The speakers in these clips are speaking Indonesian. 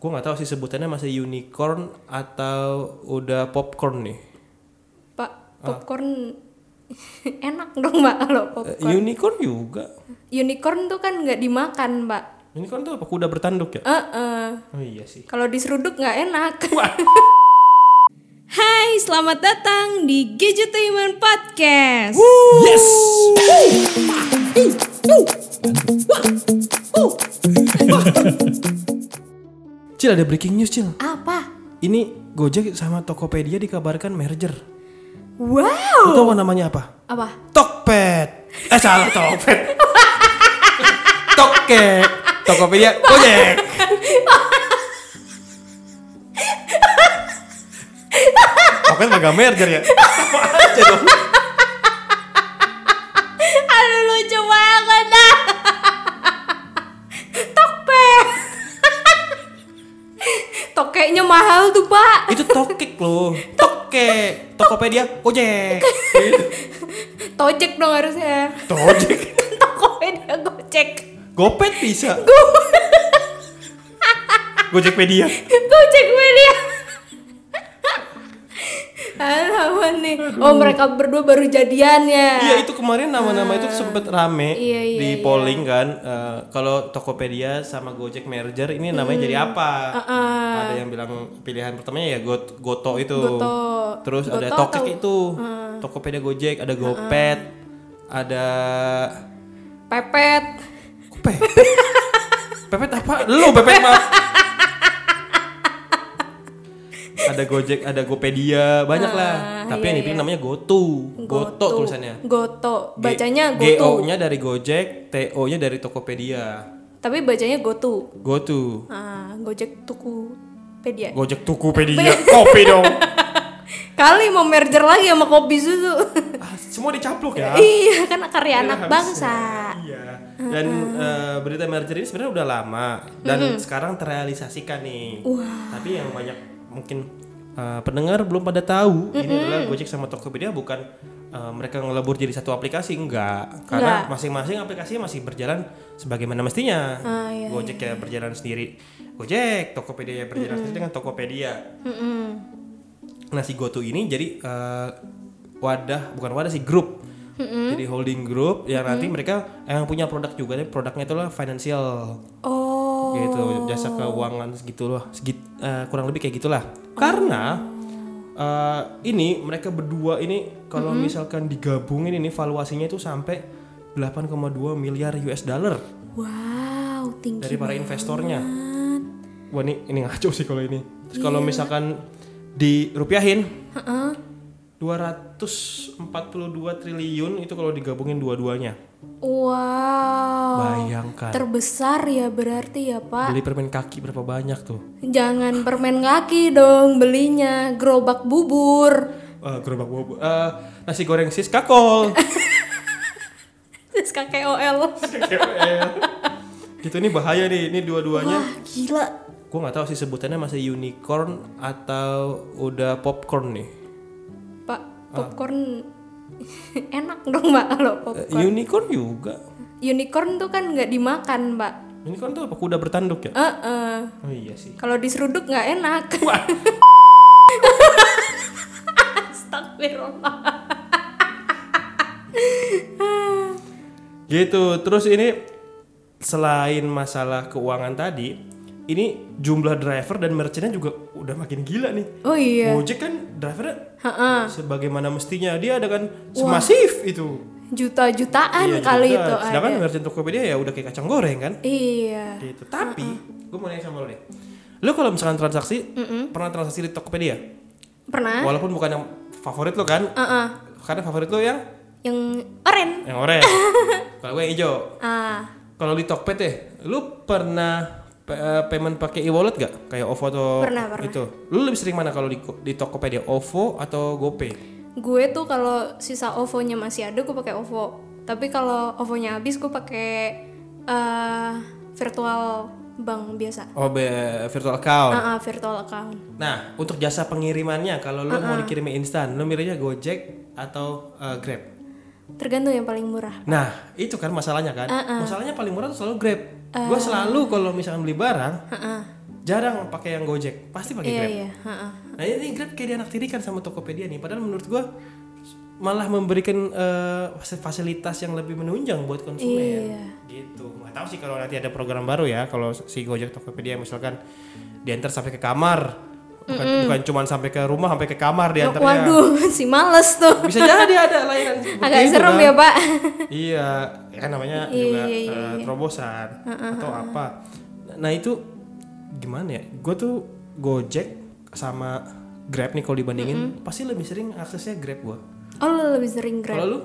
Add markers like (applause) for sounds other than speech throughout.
gue nggak tahu sih sebutannya masih unicorn atau udah popcorn nih. Pak, popcorn (laughs) enak dong, Pak, kalau Eh, popcorn. unicorn juga. Unicorn tuh kan nggak dimakan, Pak. Unicorn tuh apa kuda bertanduk ya? Eh, eh. Oh iya sih. Kalau diseruduk nggak (laughs) enak. Hai, selamat datang di Gadgetainment Podcast. Yes. Cil ada breaking news Cil. Apa? Ini Gojek sama Tokopedia dikabarkan merger. Lu Wow. tahu namanya apa? Apa? Tokped. Eh salah (laughs) Tokped. Toke. (laughs) Tokopedia Gojek. Tokped mah merger ya. Sama aja dong. (laughs) Aduh lucu banget (laughs) ah. (laughs) Toke. Tokeknya mahal tuh, Pak. Itu tokek loh. Toke. Tokopedia Gojek. Tojek dong harusnya. Gojek. (laughs) Tokopedia Gojek. Gopet bisa. Gojekpedia. Gojek media. Alamat nih. Oh, mereka berdua baru jadian ya. Iya itu kemarin nama-nama itu sempet rame Ah. Iya, iya, di polling kan. Eh, kalau Tokopedia sama Gojek merger ini namanya jadi Hmm. apa? Ah, Ada yang bilang pilihan pertamanya ya Got- Goto itu. Goto. Terus ada Goto Tokek atau- Ah. itu. Tokopedia Gojek, ada Gopet, ada Pepet. Kok Pepet. (laughs) Pepet apa? Lu Pepet (laughs) maaf. ada Gojek, ada Gopedia, banyak lah. Ah, iya, Tapi yang dipilih namanya Goto. Goto tulisannya. Goto. Bacanya Goto. GO-nya dari Gojek, TO-nya dari Tokopedia. Tapi bacanya Goto. GoTo. Ah, Gojek tuku pedia. Gojek Tokopedia, (laughs) kopi dong. Kali mau merger lagi sama kopi susu. (laughs) Ah, semua dicaplok ya. iya, kan karya anak bangsa. Iya. Dan eh, berita merger ini sebenarnya udah lama dan sekarang terrealisasikan nih. Tapi yang banyak mungkin eh, pendengar belum pada tahu ini adalah Gojek sama Tokopedia bukan eh, mereka ngelebur jadi satu aplikasi enggak karena Enggak. masing-masing aplikasi masih berjalan sebagaimana mestinya. Ah, iya, Gojek ya berjalan sendiri. Gojek, Tokopedia ya berjalan sendiri dengan Tokopedia. Mm-mm. Nah si GoTo ini jadi eh, wadah bukan wadah sih grup. Jadi holding group yang nanti mereka yang punya produk juga tapi produknya itu lah financial Oh. gitu jasa keuangan segitu loh segit eh, kurang lebih kayak gitulah karena eh, ini mereka berdua ini kalau Mm-hmm. misalkan digabungin ini valuasinya itu sampai 8,2 miliar US dollar Wow, tinggi dari para investornya banget. Wah ini, ini ngaco sih kalau ini. Terus kalau misalkan dirupiahin, Iya. Heeh. 242 triliun itu kalau digabungin dua-duanya. Wow. Bayangkan. Terbesar ya berarti ya, Pak. Beli permen kaki berapa banyak tuh? Jangan permen kaki dong belinya, gerobak bubur. Eh, gerobak bobo. Eh, nasi goreng sis kakol. Terus kakek OL. gitu ini bahaya nih. Ini dua-duanya. Wah, gila. Gue nggak tahu sih sebutannya masih unicorn atau udah popcorn nih. Ah. Pak, popcorn (laughs) enak dong, Pak, kalau Eh, popcorn. unicorn juga. Unicorn tuh kan nggak dimakan, Pak. Unicorn tuh apa kuda bertanduk ya? Eh, eh. Oh iya sih. Kalau diseruduk nggak enak. (laughs) Astagfirullah. Gitu. Terus ini selain masalah keuangan tadi, ini jumlah driver dan merchantnya juga udah makin gila nih. Oh iya. Gojek kan drivernya sebagaimana mestinya dia ada kan semasif itu. Juta-jutaan Iya, kali juga. itu Sedangkan ada. merchant Tokopedia ya udah kayak kacang goreng kan. Iya. Gitu. Tapi gue mau nanya sama lo deh. Lo kalau misalkan transaksi pernah transaksi di Tokopedia? Pernah Walaupun bukan yang favorit lo kan. Karena favorit lo yang yang oren. yang (laughs) orange. kalau gue yang hijau. Ah, Kalau di Tokped deh, lu pernah pe- eh, payment pakai e-wallet gak? Kayak OVO atau Pernah, pernah. itu. Lu lebih sering mana kalau di di Tokopedia, OVO atau GoPay? gue tuh kalau sisa OVO-nya masih ada gue pakai OVO. Tapi kalau OVO-nya habis gue pakai eh virtual bank biasa. Oh, be- virtual account. Ah, ah, virtual account. Nah, untuk jasa pengirimannya kalau lu Ah, mau dikirim instan, lu milihnya Gojek atau eh, Grab. Tergantung yang paling murah. Nah, itu Eh. kan masalahnya kan. Masalahnya paling murah tuh selalu Grab. Gua selalu kalau misalkan beli barang, jarang pakai yang Gojek, pasti pakai iya Grab. iya ha-ha. Nah ini Grab kayak dianak tirikan kan sama Tokopedia nih. Padahal menurut gua malah memberikan eh, fas- fasilitas yang lebih menunjang buat konsumen. Iya. Gitu. Nggak tahu sih kalau nanti ada program baru ya. Kalau si Gojek Tokopedia misalkan diantar sampai ke kamar. Bukan, bukan cuman sampai ke rumah, sampai ke kamar diantarnya. waduh (laughs) si males tuh Bisa jadi ada layanan (laughs) seperti agak itu, serem kan? ya pak iya kan namanya Iya, juga iya, iya, eh, iya. terobosan atau apa nah itu gimana ya gue tuh gojek sama grab nih kalau dibandingin pasti lebih sering aksesnya grab gue oh lu lebih sering Grab kalau lu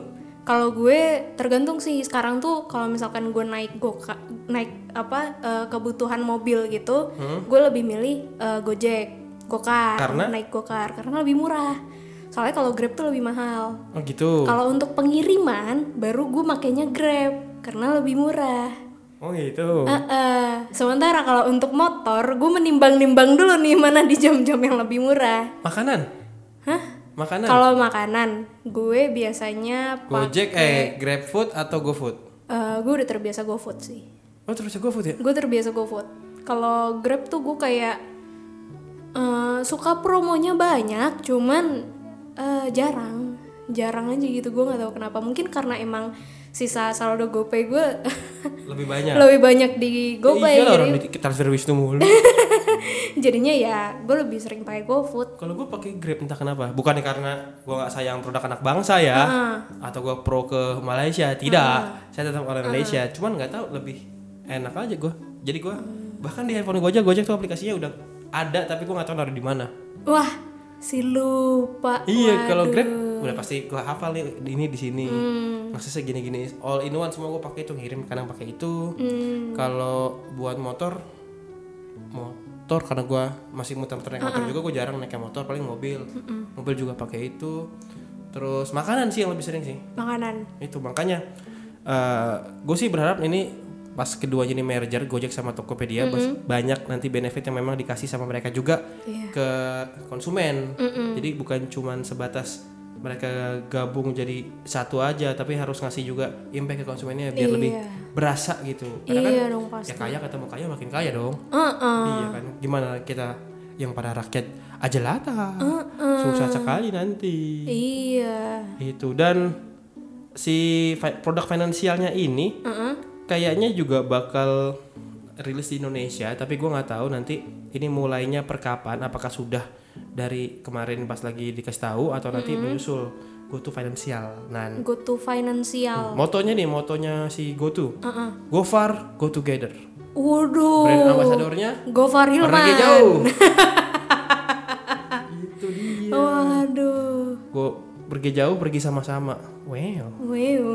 Kalau gue tergantung sih sekarang tuh kalau misalkan gue naik go naik apa eh, kebutuhan mobil gitu, gue lebih milih eh, Gojek, Gokar, Karena? naik Gokar karena lebih murah. Soalnya kalau Grab tuh lebih mahal. oh gitu Kalau untuk pengiriman baru gue makainya Grab karena lebih murah. oh gitu Eh, sementara kalau untuk motor gue menimbang-nimbang dulu nih mana di jam-jam yang lebih murah. makanan Hah? makanan Kalau makanan gue biasanya pak gojek eh grab food atau gofood eh, gue udah terbiasa GoFood sih. oh terus gofood ya gue terbiasa GoFood kalau Grab tuh gue kayak eh, suka promonya banyak cuman eh, jarang jarang aja gitu gue nggak tahu kenapa mungkin karena emang sisa saldo GoPay gue lebih banyak (laughs) lebih banyak di GoPay iya lah Ya. jadi orang di transfer wisnu mulu (laughs) jadinya ya gue lebih sering pakai GoFood kalau gue pakai grab entah kenapa bukan karena gue nggak sayang produk anak bangsa ya atau gue pro ke Malaysia tidak saya tetap orang Indonesia cuman nggak tahu lebih enak aja gue jadi gue bahkan di handphone gue aja Gojek tuh aplikasinya udah ada tapi gue nggak tahu naruh di mana wah si lupa iya kalau Waduh. grab udah pasti gue hafal nih ini di sini maksudnya gini-gini all in one semua gue pakai itu ngirim kadang pakai itu kalau buat motor motor karena gue masih muter-muter naik motor juga gue jarang naik motor paling mobil mobil juga pakai itu terus makanan sih yang lebih sering sih makanan itu makanya gue sih berharap ini pas kedua ini merger Gojek sama Tokopedia bas- banyak nanti benefit yang memang dikasih sama mereka juga Iya. ke konsumen jadi bukan cuman sebatas mereka gabung jadi satu aja tapi harus ngasih juga impact ke konsumennya biar Iya. lebih berasa gitu karena iya kan dong ya pasti Uh-uh. kaya ketemu kaya makin kaya dong Heeh. iya kan gimana kita yang pada rakyat aja lata Uh-uh. susah sekali nanti iya itu Gitu. dan si fi- produk finansialnya ini kayaknya juga bakal rilis di Indonesia tapi gua nggak tahu nanti ini mulainya per kapan apakah sudah dari kemarin pas lagi dikasih tahu atau nanti menyusul GoTo Financial nah go to financial motonya nih motonya si GoTo Go Far Go Together Oh. brand waduh ambasadornya Gofar pergi Hilman jauh itu dia Iya. Waduh, Go pergi jauh pergi sama-sama wow wow,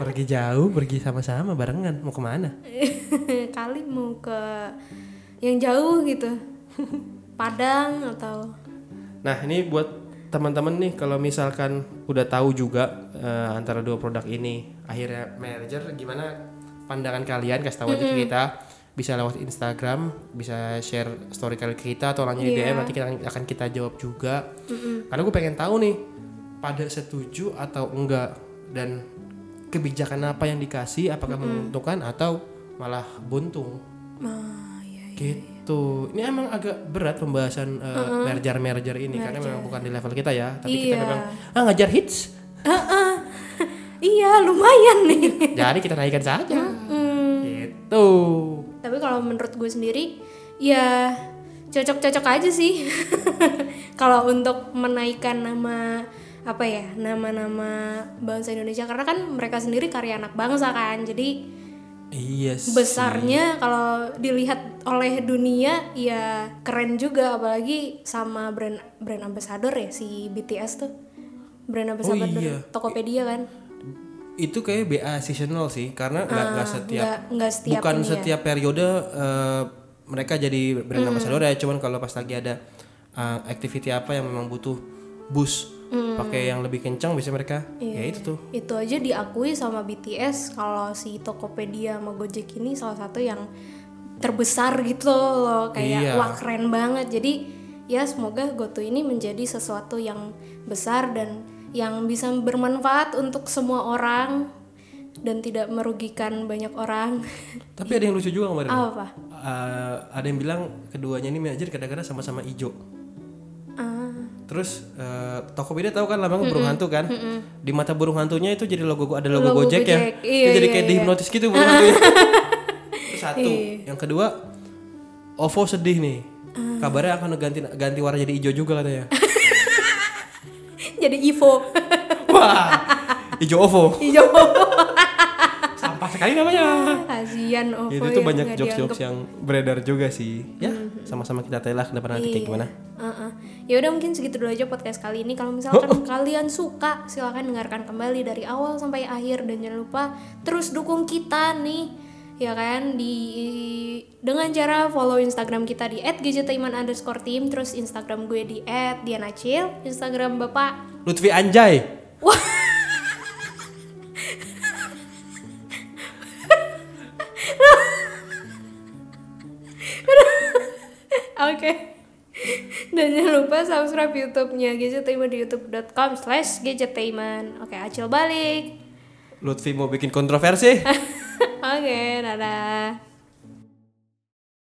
pergi jauh pergi sama-sama barengan mau kemana (laughs) kali mau ke yang jauh gitu, (laughs) Padang atau nah ini buat teman-teman nih kalau misalkan udah tahu juga eh, antara dua produk ini akhirnya merger gimana pandangan kalian kasih tahu aja ke kita bisa lewat Instagram bisa share story kalian ke kita atau nanya di DM nanti kita akan kita jawab juga karena gue pengen tahu nih pada setuju atau enggak dan kebijakan apa yang dikasih apakah menguntungkan atau malah buntung ah ya, ya. gitu ini emang agak berat pembahasan merger merger ini karena memang bukan di level kita ya tapi kita Iya. memang ah ngajar hits iya lumayan nih. Hmm, jadi kita naikkan saja gitu Tapi kalau menurut gue sendiri, ya cocok-cocok aja sih. (laughs) kalau untuk menaikkan nama apa ya nama-nama bangsa Indonesia karena kan mereka sendiri karya anak bangsa kan, jadi iya sih. besarnya kalau dilihat oleh dunia ya keren juga apalagi sama brand brand ambassador ya si BTS tuh brand ambassador iya. Tokopedia kan itu kayak BA seasonal sih karena nggak nggak setiap Ah, nggak nggak setiap bukan ini ya. setiap periode eh, mereka jadi brand ambassador ya cuman kalau pas lagi ada eh, activity apa yang memang butuh boost Mm. pakai yang lebih kencang biasanya mereka Iya. ya itu tuh itu aja diakui sama BTS kalau si Tokopedia sama Gojek ini salah satu yang terbesar gitu loh Iya. kayak wah keren banget jadi ya semoga GoTo ini menjadi sesuatu yang besar dan yang bisa bermanfaat untuk semua orang dan tidak merugikan banyak orang. (laughs) Tapi ada yang lucu juga kemarin. Apa, Pak? Eh, ada yang bilang keduanya ini manajer kadang-kadang sama-sama ijo. Ah, Terus eh, Tokopedia tahu kan lambang burung hantu kan? Di mata burung hantunya itu jadi logo ada logo, Logo Gojek, ya. Gojek, Dia iya, jadi iya, kayak iya. dihipnotis gitu (laughs) burung hantunya. Itu satu. Iya. Yang kedua OVO sedih nih. Ah. Kabarnya akan ganti ganti warna jadi hijau juga katanya. (laughs) jadi Ivo. Wah. Hijau OVO. Hijau. Iya. Sampah sekali namanya. Kasian Ovo Itu tuh yang banyak nggak jokes-jokes dianggap. Mm-hmm. yang beredar juga sih. Ya, sama-sama kita telah ke depan nanti kayak gimana. Uh-uh. Ya udah mungkin segitu dulu aja podcast kali ini. Kalau misalkan kalian suka, silakan dengarkan kembali dari awal sampai akhir dan jangan lupa terus dukung kita nih. Ya kan di dengan cara follow Instagram kita di @gadgetaiman underscore team terus Instagram gue di @dianacil, Instagram Bapak. Lutfi Anjay. Oke. Dan jangan lupa subscribe YouTube-nya Gadgetaiman di youtube.com slash gadgetaiman. Oke, acil balik. (laughs) Lutfi mau bikin kontroversi. Oke, dadah.